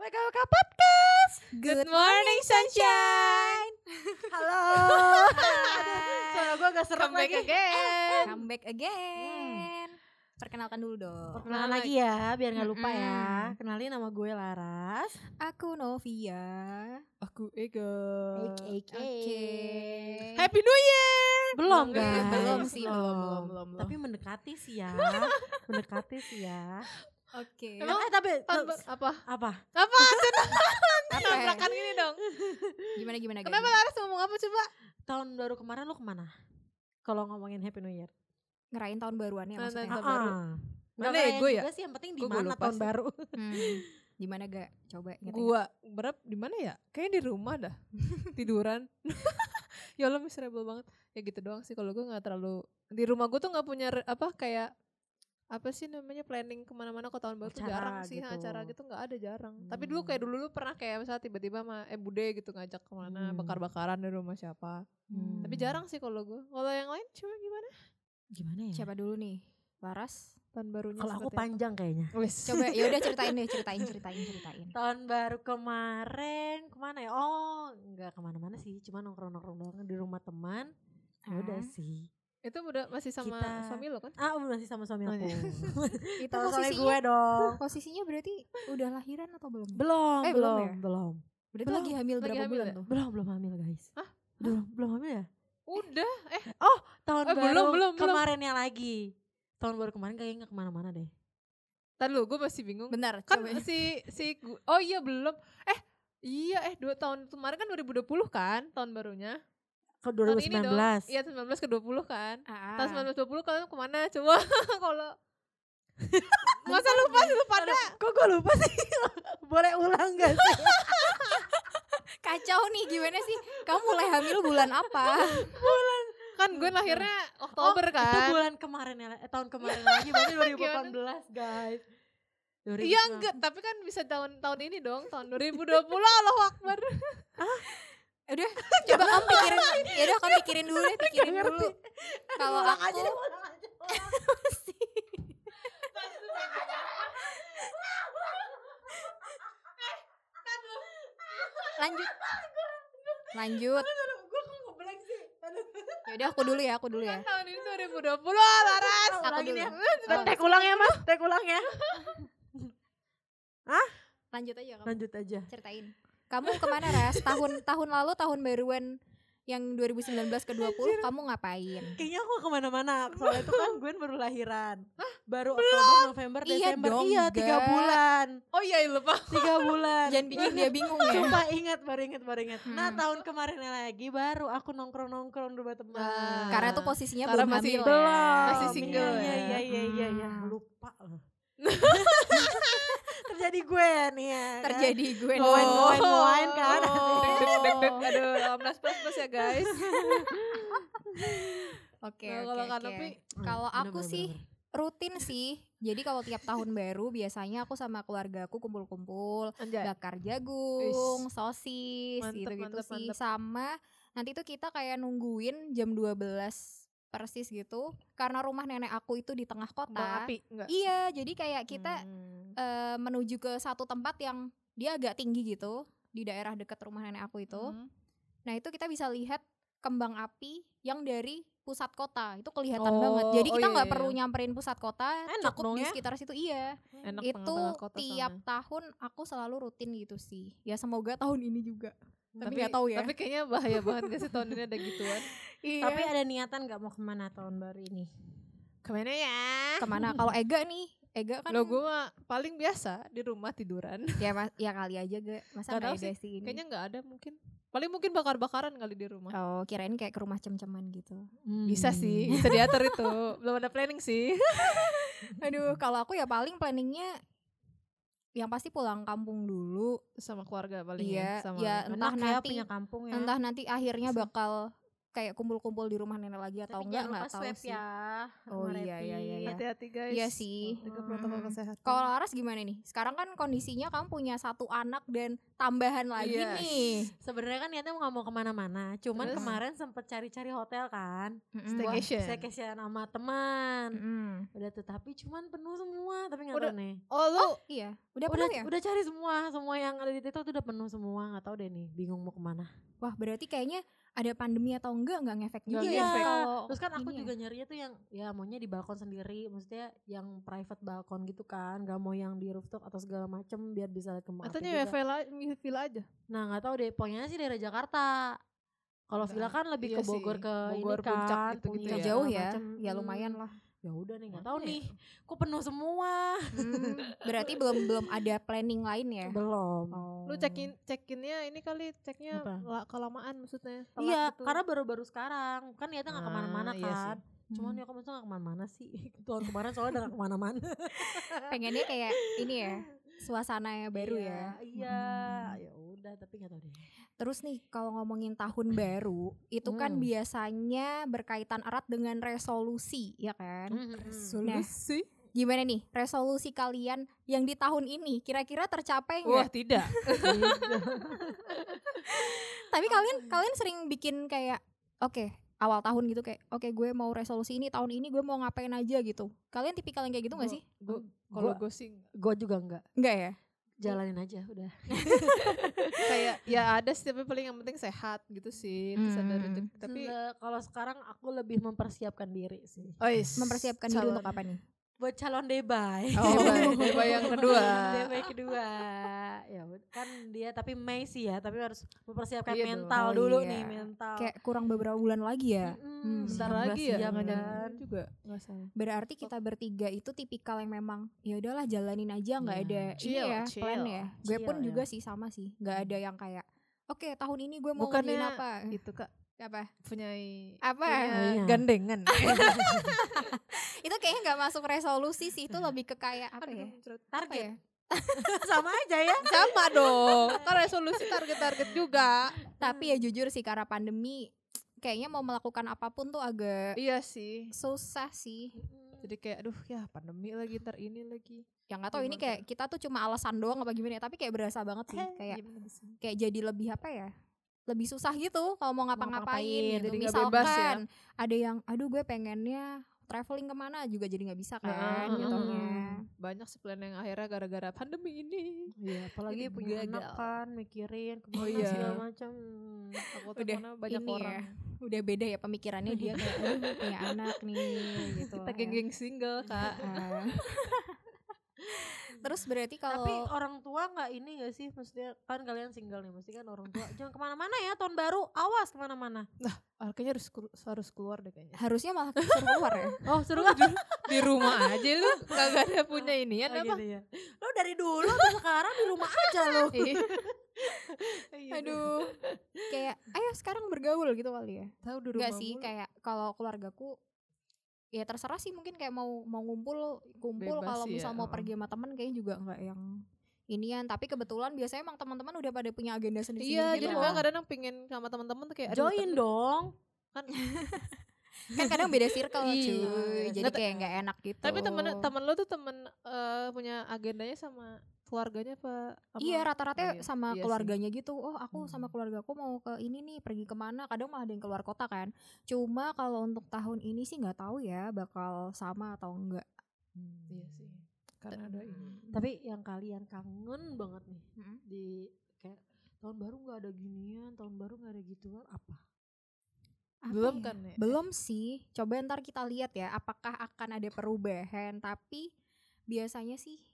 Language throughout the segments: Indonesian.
WKWK Podcast. Good morning sunshine. Halo. Suara gue gak serem Come back lagi. again. Come back again. Hmm. Perkenalkan dulu dong. Perkenalan lagi ya, biar gak lupa Mm-mm. ya. Kenalin nama gue Laras. Aku Novia. Aku Ega. Oke. Happy New Year. Belum Belum, guys. belum sih, belum, belum, Tapi mendekati sih ya. mendekati sih ya. Oke. Emang Eh, tapi Apa- apa? apa? Apa? Apa? Tabrakan gini Kan dong. Gimana gimana gimana? Kenapa Laras ngomong apa coba? Tahun baru kemarin lu kemana? Kalau ngomongin Happy New Year. ngerayain tahun baruannya Tahun- maksudnya? tahun- Ah, baru. ah. Mana Nggak ya, ngerayain gue ya? juga sih yang penting di Gue- gue mana lupa tahun sih. baru. Hmm. Gimana gak? Coba ingat-ingat. Gua berap di mana ya? Kayaknya di rumah dah. Tiduran. ya Allah miserable banget. Ya gitu doang sih kalau gue nggak terlalu di rumah gue tuh nggak punya re- apa kayak apa sih namanya planning kemana-mana ke tahun baru tuh Acara jarang sih gitu. acara gitu nggak ada jarang tapi Hmm. dulu kayak dulu lu pernah kayak misalnya tiba-tiba sama eh bude gitu ngajak kemana Hmm. bakar-bakaran di rumah siapa Hmm. tapi jarang sih kalau gue kalau yang lain cuma gimana Gimana ya? Siapa dulu nih? Laras. tahun barunya Kalau aku seperti apa? panjang kayaknya. Wes. Coba ya udah ceritain deh, ceritain, ceritain, ceritain. Tahun baru kemarin kemana ya? Oh, nggak kemana-mana sih, cuma nongkrong-nongkrong doang di rumah teman. Ya Ah. udah Hmm. sih. itu udah masih sama Kita- suami lo kan Ah, udah sih sama Oh, suami aku. iya. Itu Tahu suami posisinya gue dong. posisinya berarti udah lahiran atau belum? Belum, Eh, belum belum, ya? belum. Berarti belum. lagi hamil Lagi berapa hamil bulan ya? tuh? Belum, belum hamil, guys. Hah? Belum, belum hamil ya? udah Tahun Eh, belum, baru belum, belum. kemarinnya lagi. Tahun baru kemarin kayaknya nggak kemana-mana deh. Tadi lu gue masih bingung Benar, kan coba. si si gu- oh iya belum eh iya eh dua tahun kemarin kan 2020 kan tahun barunya Ke tahun 2019. ini dong iya 19 ke 20 kan Ah, tahun 1920 kalian kemana coba kalau masa lupa sih lu pada Kok gue lupa sih? Boleh ulang gak sih? Kacau nih gimana sih? Kamu mulai hamil bulan apa? kan gue lahirnya Oktober Oh, Itu kan bulan kemarin ya, eh, tahun kemarin lagi berarti 2018 guys. iya enggak tapi kan bisa tahun tahun ini dong tahun 2020 Allah Akbar Ya Udah, coba kamu pikirin. Ya udah kamu pikirin dulu deh, pikirin ngerti. dulu. Kalau Ulang aku aja deh, ulang aja. lanjut. Lanjut. Gue kok ngeblank sih? Aduh. Ya udah aku dulu ya, aku dulu ya. kan tahun ini 2020 Laras Aku Aku ulangin dulu. ya. Oh, Tek ulang ya mas, tek ulang ya. lanjut aja kamu. Lanjut aja. Ceritain. Kamu kemana Ras? Tahun tahun lalu tahun baruan yang 2019 ke 20 kamu ngapain? Kayaknya aku kemana-mana, soalnya itu kan gue baru lahiran. Baru Oktober, November, Iya Desember. dong, iya, tiga Ga. bulan. oh iya lupa Tiga bulan. Jangan bikin dia bingung ya. Sumpah ingat, baru ingat, baru ingat. Nah Hmm. tahun kemarin lagi baru aku nongkrong-nongkrong di rumah teman. Nah, Karena tuh posisinya Karena belum masih hamil. belum, ya. masih single ya. Iya, iya, iya, iya, iya. Hmm. Lupa loh. Terjadi gue nih ya. kan? Terjadi gue Oh. doang. Wine, wine, kan? Dek, dek, dek, dek. Aduh, 18 plus plus ya guys. Oke, Nah, oke, kalau Kak oke. Nopi, Hmm, Kalau bener, aku bener, sih bener. rutin sih. Jadi kalau tiap tahun baru biasanya aku sama keluarga aku kumpul-kumpul, Anjay. bakar jagung, Wis. sosis Mantep, gitu-gitu mantep, sih mantep. sama nanti tuh kita kayak nungguin jam 12 persis gitu karena rumah nenek aku itu di tengah Kembang kota. api enggak? Iya, jadi kayak kita Hmm. eh, menuju ke satu tempat yang dia agak tinggi gitu di daerah dekat rumah nenek aku itu. Hmm. Nah, itu kita bisa lihat kembang api yang dari pusat kota. Itu kelihatan Oh, banget. Jadi oh kita iya, nggak iya, perlu iya. nyamperin pusat kota, Enak cukup dong di ya. sekitar situ iya. Enak itu tengah-tengah kota tiap sana. tahun aku selalu rutin gitu sih. Ya semoga tahun ini juga. Tapi Tapi- nggak tahu ya. Tapi kayaknya bahaya banget gak sih tahun ini ada gituan. Iya. Tapi ada niatan gak mau kemana tahun baru ini? Kemana ya? kemana kalau Ega nih? Ega kan Lo gue mah paling biasa di rumah tiduran. ya mas, ya kali aja gak masa Nggak nggak tahu Ega sih ini. Kayaknya nggak ada mungkin. Paling mungkin bakar-bakaran kali di rumah. Oh, kirain kayak ke rumah cem-ceman gitu. Hmm. Bisa sih, bisa diatur itu. Belum ada planning sih. Aduh, kalau aku ya paling planningnya yang pasti pulang kampung dulu. Sama keluarga paling Iya, ya. Sama iya. Entah Entah ya nanti- punya kampung ya. Entah nanti akhirnya bakal kayak kumpul-kumpul di rumah nenek lagi atau Tapi enggak jangan enggak lupa tahu swab sih. ya. Oh sama iya iya iya. rapid. iya. Hati-hati guys. Iya sih. Hmm. Dengan protokol Mm. kesehatan. Kalau Laras gimana nih? Sekarang kan kondisinya kamu punya satu anak dan tambahan lagi Yes. nih. Sebenarnya kan niatnya mau nggak mau kemana-mana, cuman Terus? kemarin sempet cari-cari hotel kan, Mm-mm. Staycation. saya kesian sama teman, Mm-mm. udah tuh tapi cuman penuh semua, tapi nggak Udah- tahu nih. Oh lu Iya. Udah udah, penuh ya? udah cari semua, semua yang ada di TikTok tuh udah penuh semua, nggak tahu deh nih, bingung mau kemana. Wah berarti kayaknya ada pandemi atau enggak enggak ngefek Nggak juga ya ngefek. kalau Terus kan aku ini ya. juga nyarinya tuh yang ya maunya di balkon sendiri, maksudnya yang private balkon gitu kan, gak mau yang di rooftop atau segala macem biar bisa lihat kembang api katanya juga. villa, villa aja. Nah nggak tahu deh, pokoknya sih daerah Jakarta. Kalau Nah, villa kan lebih iya ke Bogor sih. ke Bogor, ini kan, Puncak gitu-gitu Puncak ya. jauh segala ya. macem. Ya lumayan Mm. lah. Ya udah nih nggak tahu Makanya. nih, kok penuh semua. Hmm, berarti belum belum ada planning lain ya. Belum. Oh. Lu cekin cekinnya ini kali ceknya Apa? la- kelamaan maksudnya. telat Iya, gitu. karena baru-baru sekarang kan niatnya nggak Ah, kemana-mana iya sih. kan. Cuman Hmm. ya kok maksudnya nggak kemana-mana sih. Tahun kemarin soalnya udah nggak kemana-mana. pengennya kayak ini ya suasana yang baru ya. Iya, ya. Iya, Mm. ya udah tapi nggak tahu deh. Terus nih kalau ngomongin tahun baru itu kan Hmm. biasanya berkaitan erat dengan resolusi ya Hmm, kan. Nah. Resolusi. Gimana nih resolusi kalian yang di tahun ini kira-kira tercapai Wah, nggak? tidak. Tapi Oh, kalian iya. kalian sering bikin kayak oke awal tahun gitu kayak oke gue mau resolusi ini tahun ini gue mau ngapain aja gitu. Kalian tipikal yang kayak gitu nggak Gua- sih? gua- Kalau gue sih gue juga Oh. nggak. Enggak ya. Jalanin aja udah. kayak ya ada sih tapi paling yang penting sehat gitu sih bisa dari Hmm. titik- tapi Se- kalau sekarang aku lebih mempersiapkan diri sih. oh, Mempersiapkan diri untuk apa nih? Buat calon debay. Oh, debay- debay yang kedua. debay kedua. Ya ud- kan dia tapi Mei sih ya, tapi harus mempersiapkan Iya dong. mental Oh, dulu iya. nih, mental. Kayak kurang beberapa bulan lagi ya. Mm-mm, Hmm. bentar Yang lagi ya siang nggak kan. jangan juga nggak salah Berarti kita bertiga itu tipikal yang memang ya udahlah jalanin aja nggak Iya. ada Chill, ini ya chill. plan ya. Gue Chill pun ya. Hmm. juga sih sama sih, nggak ada yang kayak oke tahun ini gue mau Bukannya ngerjain apa? itu kak Apa? punya Apa? Oh, iya. gandengan Itu kayaknya nggak masuk resolusi sih, itu lebih ke kayak apa ya? Apa Hmm. Target ya? sama aja ya. sama dong kan resolusi target target juga Tapi ya jujur sih karena pandemi kayaknya mau melakukan apapun tuh agak iya sih susah sih. jadi kayak aduh ya pandemi lagi ntar ini lagi Yang Ya nggak tahu ini Gimana? kayak kita tuh cuma alasan doang apa gimana ya, tapi kayak berasa banget sih kayak Gimana Iya, sih? kayak jadi lebih apa ya lebih susah gitu kalau iya. mau ngapain, ngapa-ngapain gitu. jadi nggak misalkan bebas ya. ada yang aduh gue pengennya traveling kemana juga jadi nggak bisa kan Heeh, jatuhnya. banyak sih plan yang akhirnya gara-gara pandemi ini Iya, apalagi Jadi punya anak gagal. kan mikirin kemana iya. segala macam. aku Udah, teleponnya banyak ini ya. orang udah beda ya pemikirannya dia kayak aduh gue punya anak nih gitu kita ya. geng-geng single kak Heeh. terus berarti kalau Tapi orang tua nggak ini gak sih? Maksudnya kan kalian single nih, mesti kan orang tua jangan kemana-mana ya tahun baru, awas kemana-mana. Ah, kayaknya harus kelu- harus keluar deh kayaknya. harusnya malah disuruh keluar ya Oh, suruh di, di rumah aja lu kagak ada punya ini gitu. Oh, apa? gitu ya. Lo dari dulu sampai sekarang di rumah aja lo. Ih, Iya, Iya, aduh kayak ayo sekarang bergaul gitu kali ya tahu di rumah. Enggak sih mulu. kayak kalau keluargaku ya terserah sih mungkin kayak mau mau ngumpul kumpul Bebas kalau sih misal ya, mau heeh. pergi sama temen kayaknya juga nggak yang inian tapi kebetulan biasanya emang teman-teman udah pada punya agenda sendiri Iya, jadi gitu gue loh. kadang pingin sama teman-teman tuh kayak aduh, Join tapi- dong. kan kadang beda circle Iya. cuy jadi Nggak, kayak nggak enak gitu Tapi temen temen lu tuh temen eh, punya agendanya sama keluarganya apa? sama- iya rata-rata Oh, iya. sama Iya sih. keluarganya gitu oh aku Hmm. sama keluargaku mau ke ini nih pergi kemana kadang malah ada yang keluar kota kan cuma kalau untuk tahun ini sih nggak tahu ya bakal sama atau enggak Iya sih. Karena ada Hmm. ini. Tapi yang kalian kangen banget nih Mm-mm. di kayak tahun baru nggak ada ginian, tahun baru nggak ada gituan apa? Apa Belum ya? kan ya? Belum sih. Coba ntar kita lihat ya apakah akan ada perubahan. Tapi biasanya sih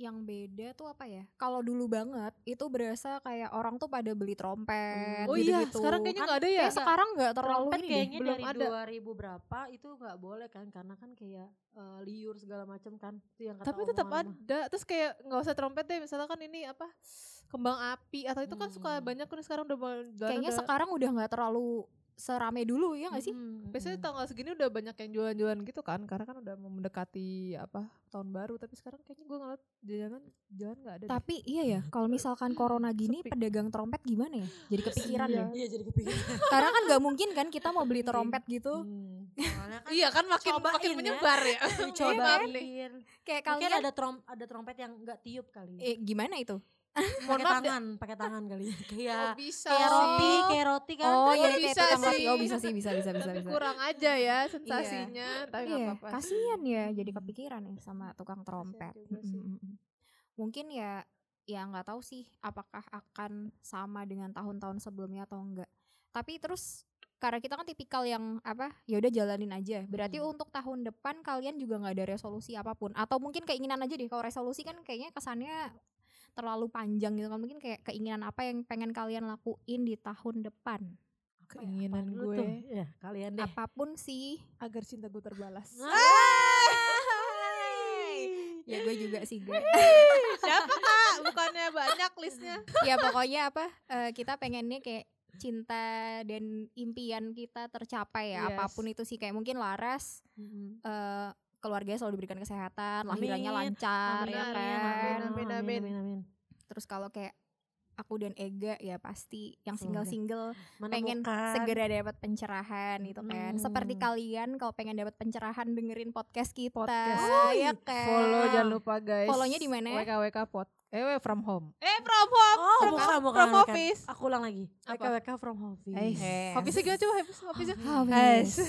yang beda tuh apa ya? Kalau dulu banget itu berasa kayak orang tuh pada beli trompet Oh gitu Kan iya, sekarang kayaknya nggak ada ya. Kayak sekarang nggak terlalu Trompet ini deh. kayaknya belum dari ada. 2000 berapa itu nggak boleh kan karena kan kayak eh, liur segala macam kan itu yang kata Tapi tetap omongan mah. ada. Terus kayak nggak usah trompet deh, misalnya kan ini apa? Kembang api atau itu kan suka Hmm. banyak kan sekarang udah Kayaknya sekarang udah nggak terlalu serame dulu ya nggak sih? Mm-mm, Biasanya mm-mm. tanggal segini udah banyak yang jualan-jualan gitu kan Karena kan udah mau mendekati apa tahun baru Tapi sekarang kayaknya gue ngeliat jajanan jalan gak ada deh. Tapi iya ya, kalau misalkan corona gini Sepi. pedagang trompet gimana ya? Jadi kepikiran Iya. ya. Iya jadi kepikiran. Karena kan nggak mungkin kan kita mau beli Iya. trompet gitu. Hmm. Soalnya kan Iya kan makin Cobain makin ya. menyebar ya Iya. dicobain. Kayak Mungkin kalian ada trom ada trompet yang nggak tiup kali. eh, gimana itu? pakai maaf deh. tangan, pakai tangan kali. Kok Kayak bisa Iya, kayak sih? roti, kayak roti kan. Oh kan iya bisa kayak tukang roti. sih. ya? Oh bisa sih, bisa bisa bisa Tapi bisa. kurang aja ya sensasinya Tapi nggak Iya, apa-apa sih. Hmm. kasihan ya jadi kepikiran ya sama tukang trompet. juga sih. Mm, mm, mm. Mungkin ya ya nggak tahu sih apakah akan sama dengan tahun-tahun sebelumnya atau enggak. Tapi terus karena kita kan tipikal yang apa ya udah jalanin aja berarti Hmm. Mm. untuk tahun depan kalian juga nggak ada resolusi apapun atau mungkin keinginan aja deh kalau resolusi kan kayaknya kesannya terlalu panjang gitu kan mungkin kayak keinginan apa yang pengen kalian lakuin di tahun depan Keinginan Apaan dulu gue tuh? Ya, kalian deh. Ah! apapun sih agar cinta gue terbalas. Nah, ya gue juga sih gue Siapa kak? Bukannya banyak listnya? ya pokoknya apa eh, kita pengennya kayak cinta dan impian kita tercapai ya Yes. apapun itu sih kayak mungkin Laras eh, keluarganya selalu diberikan kesehatan Amin. lahirannya lancar Amin, iya, ya amin, kan amin, amin, amin. amin. terus kalau kayak aku dan Ega ya pasti yang Semoga. single-single pengen Menemukan. segera dapat pencerahan gitu kan Hmm. seperti kalian kalau pengen dapat pencerahan dengerin podcast kita Podcast. ya kan Follow jangan lupa guys. Follow-nya di mana? WKWK Pod. Eh we from home. Eh from home. Oh, from, bukan, home, bukan, from bukan. office. Aku ulang lagi. Apa? WKWK from office. Ya. Eh. Office-nya gimana coba? Office-nya. Ah, Yes. wes.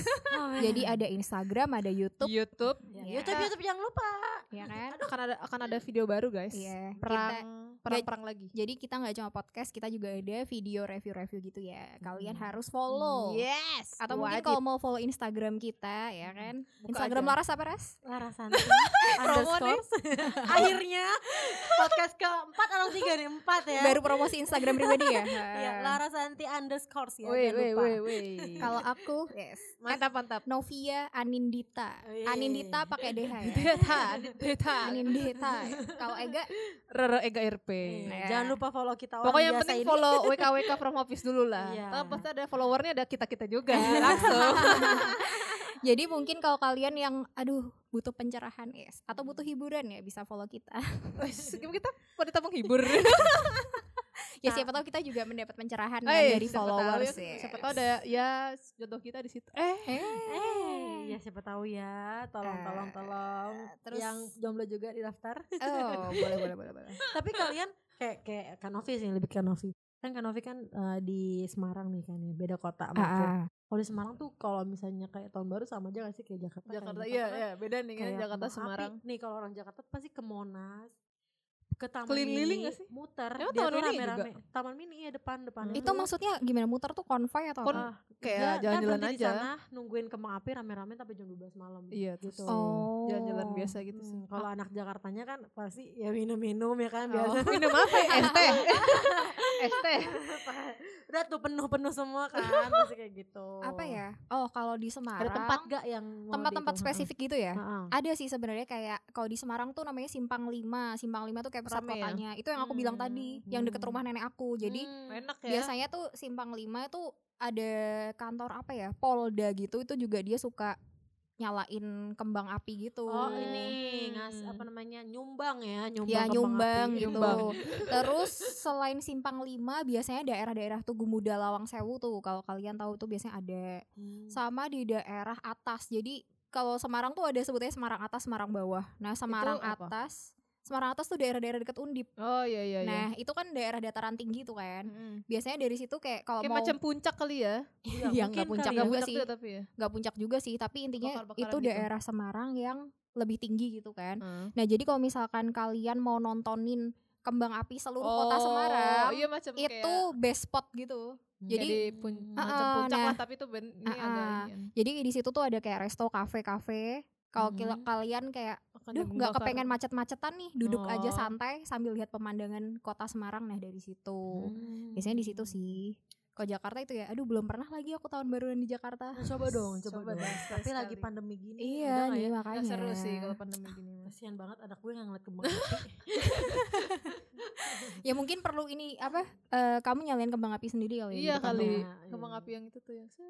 jadi ada Instagram ada YouTube YouTube. Ya, Ya. YouTube, YouTube jangan lupa. ya kan Akan ada akan ada video baru guys. Iya, Perang perang Gak- perang lagi. Jadi kita nggak cuma podcast, kita juga ada video review-review gitu ya. Kalian harus follow. Hmm. Yes. Hmm. Atau mungkin kalau mau follow Instagram kita ya kan. Instagram aja. Laras apa Ras? Larasan underscore. Akhirnya podcast keempat atau tiga nih empat ya. Baru promosi Instagram pribadi ya. ya, Larasanti underscore ya. Woi jangan woi lupa. woi woi. Kalau aku yes. mantap mantap. Novia Anindita. Oh, Wih. Anindita pakai DH ya. iya, Deta, Deta. Anindita. Kalau Ega Rere Ega RP. Iya, Ya. Jangan lupa follow kita orang Pokoknya yang iya, biasa penting ini. follow WKWK from office dulu lah. Iya. Tapi pasti ada followernya ada kita-kita juga Iya. kan, langsung. jadi mungkin kalau kalian yang aduh butuh pencerahan yes atau butuh hiburan ya bisa follow kita. Wes, gimana kita wanita menghibur. Iya, Ya Nah. siapa tahu kita juga mendapat pencerahan kan, Eh, dari siapa tahu followers ya, ya. Siapa tahu ada ya jodoh kita di situ. Eh, Eh, ya siapa tahu ya. Tolong, Eh, tolong, tolong. terus- yang jomblo juga didaftar. Oh, boleh boleh boleh boleh. Tapi kalian kayak kayak Kanovi sih lebih Kanovi. Kan Kanovi kan eh, di Semarang nih kan ya, beda kota sama aku. Kalau di Semarang tuh kalau misalnya kayak tahun baru sama aja gak sih kayak Jakarta. Jakarta Kayak iya kan iya beda nih kan kayak Jakarta mau api. Semarang. Nih kalau orang Jakarta pasti ke Monas, ke Taman Keliling-liling Mini, gak sih? muter. Emang dia Taman tuh Mini juga? rame-rame. Taman Mini ya depan depan. Itu maksudnya gimana muter tuh konvoy atau Kon- apa? Iya, nah, Ah, Kayak jalan-jalan aja. Sana, nungguin kembang api rame-rame sampai jam 12 malam. Iya, terus Gitu. Oh. jalan-jalan biasa gitu sih. Hmm, kalau anak Jakartanya kan pasti ya minum-minum ya kan biasa. Oh, minum apa ya? Es teh. Es teh. Udah tuh penuh-penuh semua kan pasti kayak gitu. Apa ya? Oh, kalau di Semarang Ada tempat Oh, gak yang mau tempat-tempat dihitung? spesifik gitu ya? Heeh. Ada sih sebenarnya kayak kalau di Semarang tuh namanya Simpang 5. Simpang 5 tuh kayak pusat Rame ya? kotanya. Itu yang aku bilang tadi, Hmm. yang deket rumah nenek aku. Jadi Hmm. Enak ya. biasanya tuh Simpang 5 tuh ada kantor apa ya? Polda gitu. Itu juga dia suka nyalain kembang api gitu. Oh Hmm. ini ngas apa namanya nyumbang ya nyumbang Ya kembang nyumbang api. gitu. Nyumbang. Terus selain Simpang 5 biasanya daerah-daerah Tugu Muda Lawang Sewu tuh kalau kalian tahu tuh biasanya ada Hmm. sama di daerah atas. Jadi kalau Semarang tuh ada sebutnya Semarang atas, Semarang bawah. Nah, Semarang apa? atas Semarang atas tuh daerah-daerah dekat Undip. Oh iya iya iya. Nah, itu kan daerah dataran tinggi tuh kan. Mm-mm. Biasanya dari situ kayak kalau Kayak mau macam puncak kali ya. Iya, yang nggak mungkin puncak juga kali ya. puncak sih. juga tapi ya. nggak puncak juga sih, tapi intinya Bakar-bakaran itu gitu. daerah Semarang yang lebih tinggi gitu kan. Heeh. Nah, jadi kalau misalkan kalian mau nontonin kembang api seluruh kota Semarang, Iya macam itu base spot gitu. jadi Hmm. Jadi- pun Ah, macam ah, puncak nah. lah tapi itu ben, ini Ah, ada ah. ini. Jadi di situ tuh ada kayak resto, kafe-kafe. Kalau Mhm. kila- kalian kayak, Makan duh jagung nggak bakar. kepengen macet-macetan nih, duduk aja Oh. santai sambil lihat pemandangan kota Semarang nah dari situ. Hmm. Biasanya di situ sih. Kalau Jakarta itu ya, aduh belum pernah lagi aku tahun baruan di Jakarta. Nah, coba dong, coba, Coba dong. dong, Tapi sekali-sekali. lagi pandemi gini. udah Iya nggak nih ya? makanya. Nggak seru sih kalau pandemi gini mas. Kasihan banget anak gue nggak ngeliat kembang api. ya mungkin perlu ini apa eh, kamu nyalain kembang api sendiri kali ya di Iya depan kali. rumah. iya. Kembang api yang itu tuh yang set.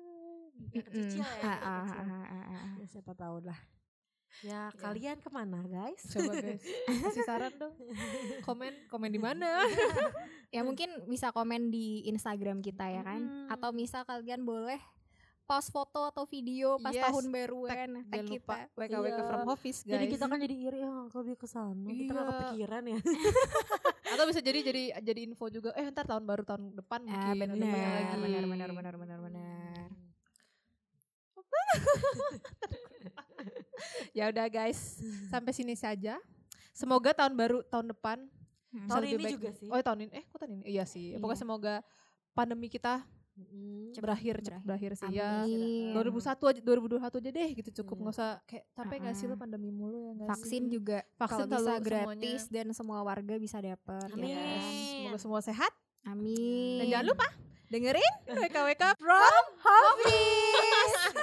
Yang Mm-mm. Ah, kecil ya, yang ah, kecil. ah, ah, ah. Ya, siapa tahu lah ya kalian kemana guys Coba guys, kasih saran dong. Komen, komen di mana? ya Hmm. mungkin bisa komen di Instagram kita ya kan Mm. atau misal kalian boleh post foto atau video pas Yes, tahun baruan tag Jangan lupa kita WKWK from office guys. Iya. jadi kita kan jadi iri ya kalau dia kesana kita nggak Iya. kepikiran ya Atau bisa jadi jadi jadi info juga. Eh ntar tahun baru tahun depan mungkin. ah ada benar banyak benar lagi. benar benar benar benar benar Ya udah guys, sampai sini saja. Semoga tahun baru tahun depan. Hmm. bisa Tahun lebih ini baik. juga sih. Oh tahun ini, eh kok tahun ini? Iya sih. Pokoknya semoga pandemi kita Mm. berakhir cepat berakhir sih ya. Amin. 2001 aja 2021 aja deh gitu cukup Iya. nggak usah kayak capek nggak sih Ah. lo pandemi mulu ya nggak sih? vaksin juga vaksin Vaksin kalau bisa kalau gratis dan semua warga bisa dapat ya Amin. kan? Iya. Semoga semua sehat amin dan jangan lupa dengerin WKWK from office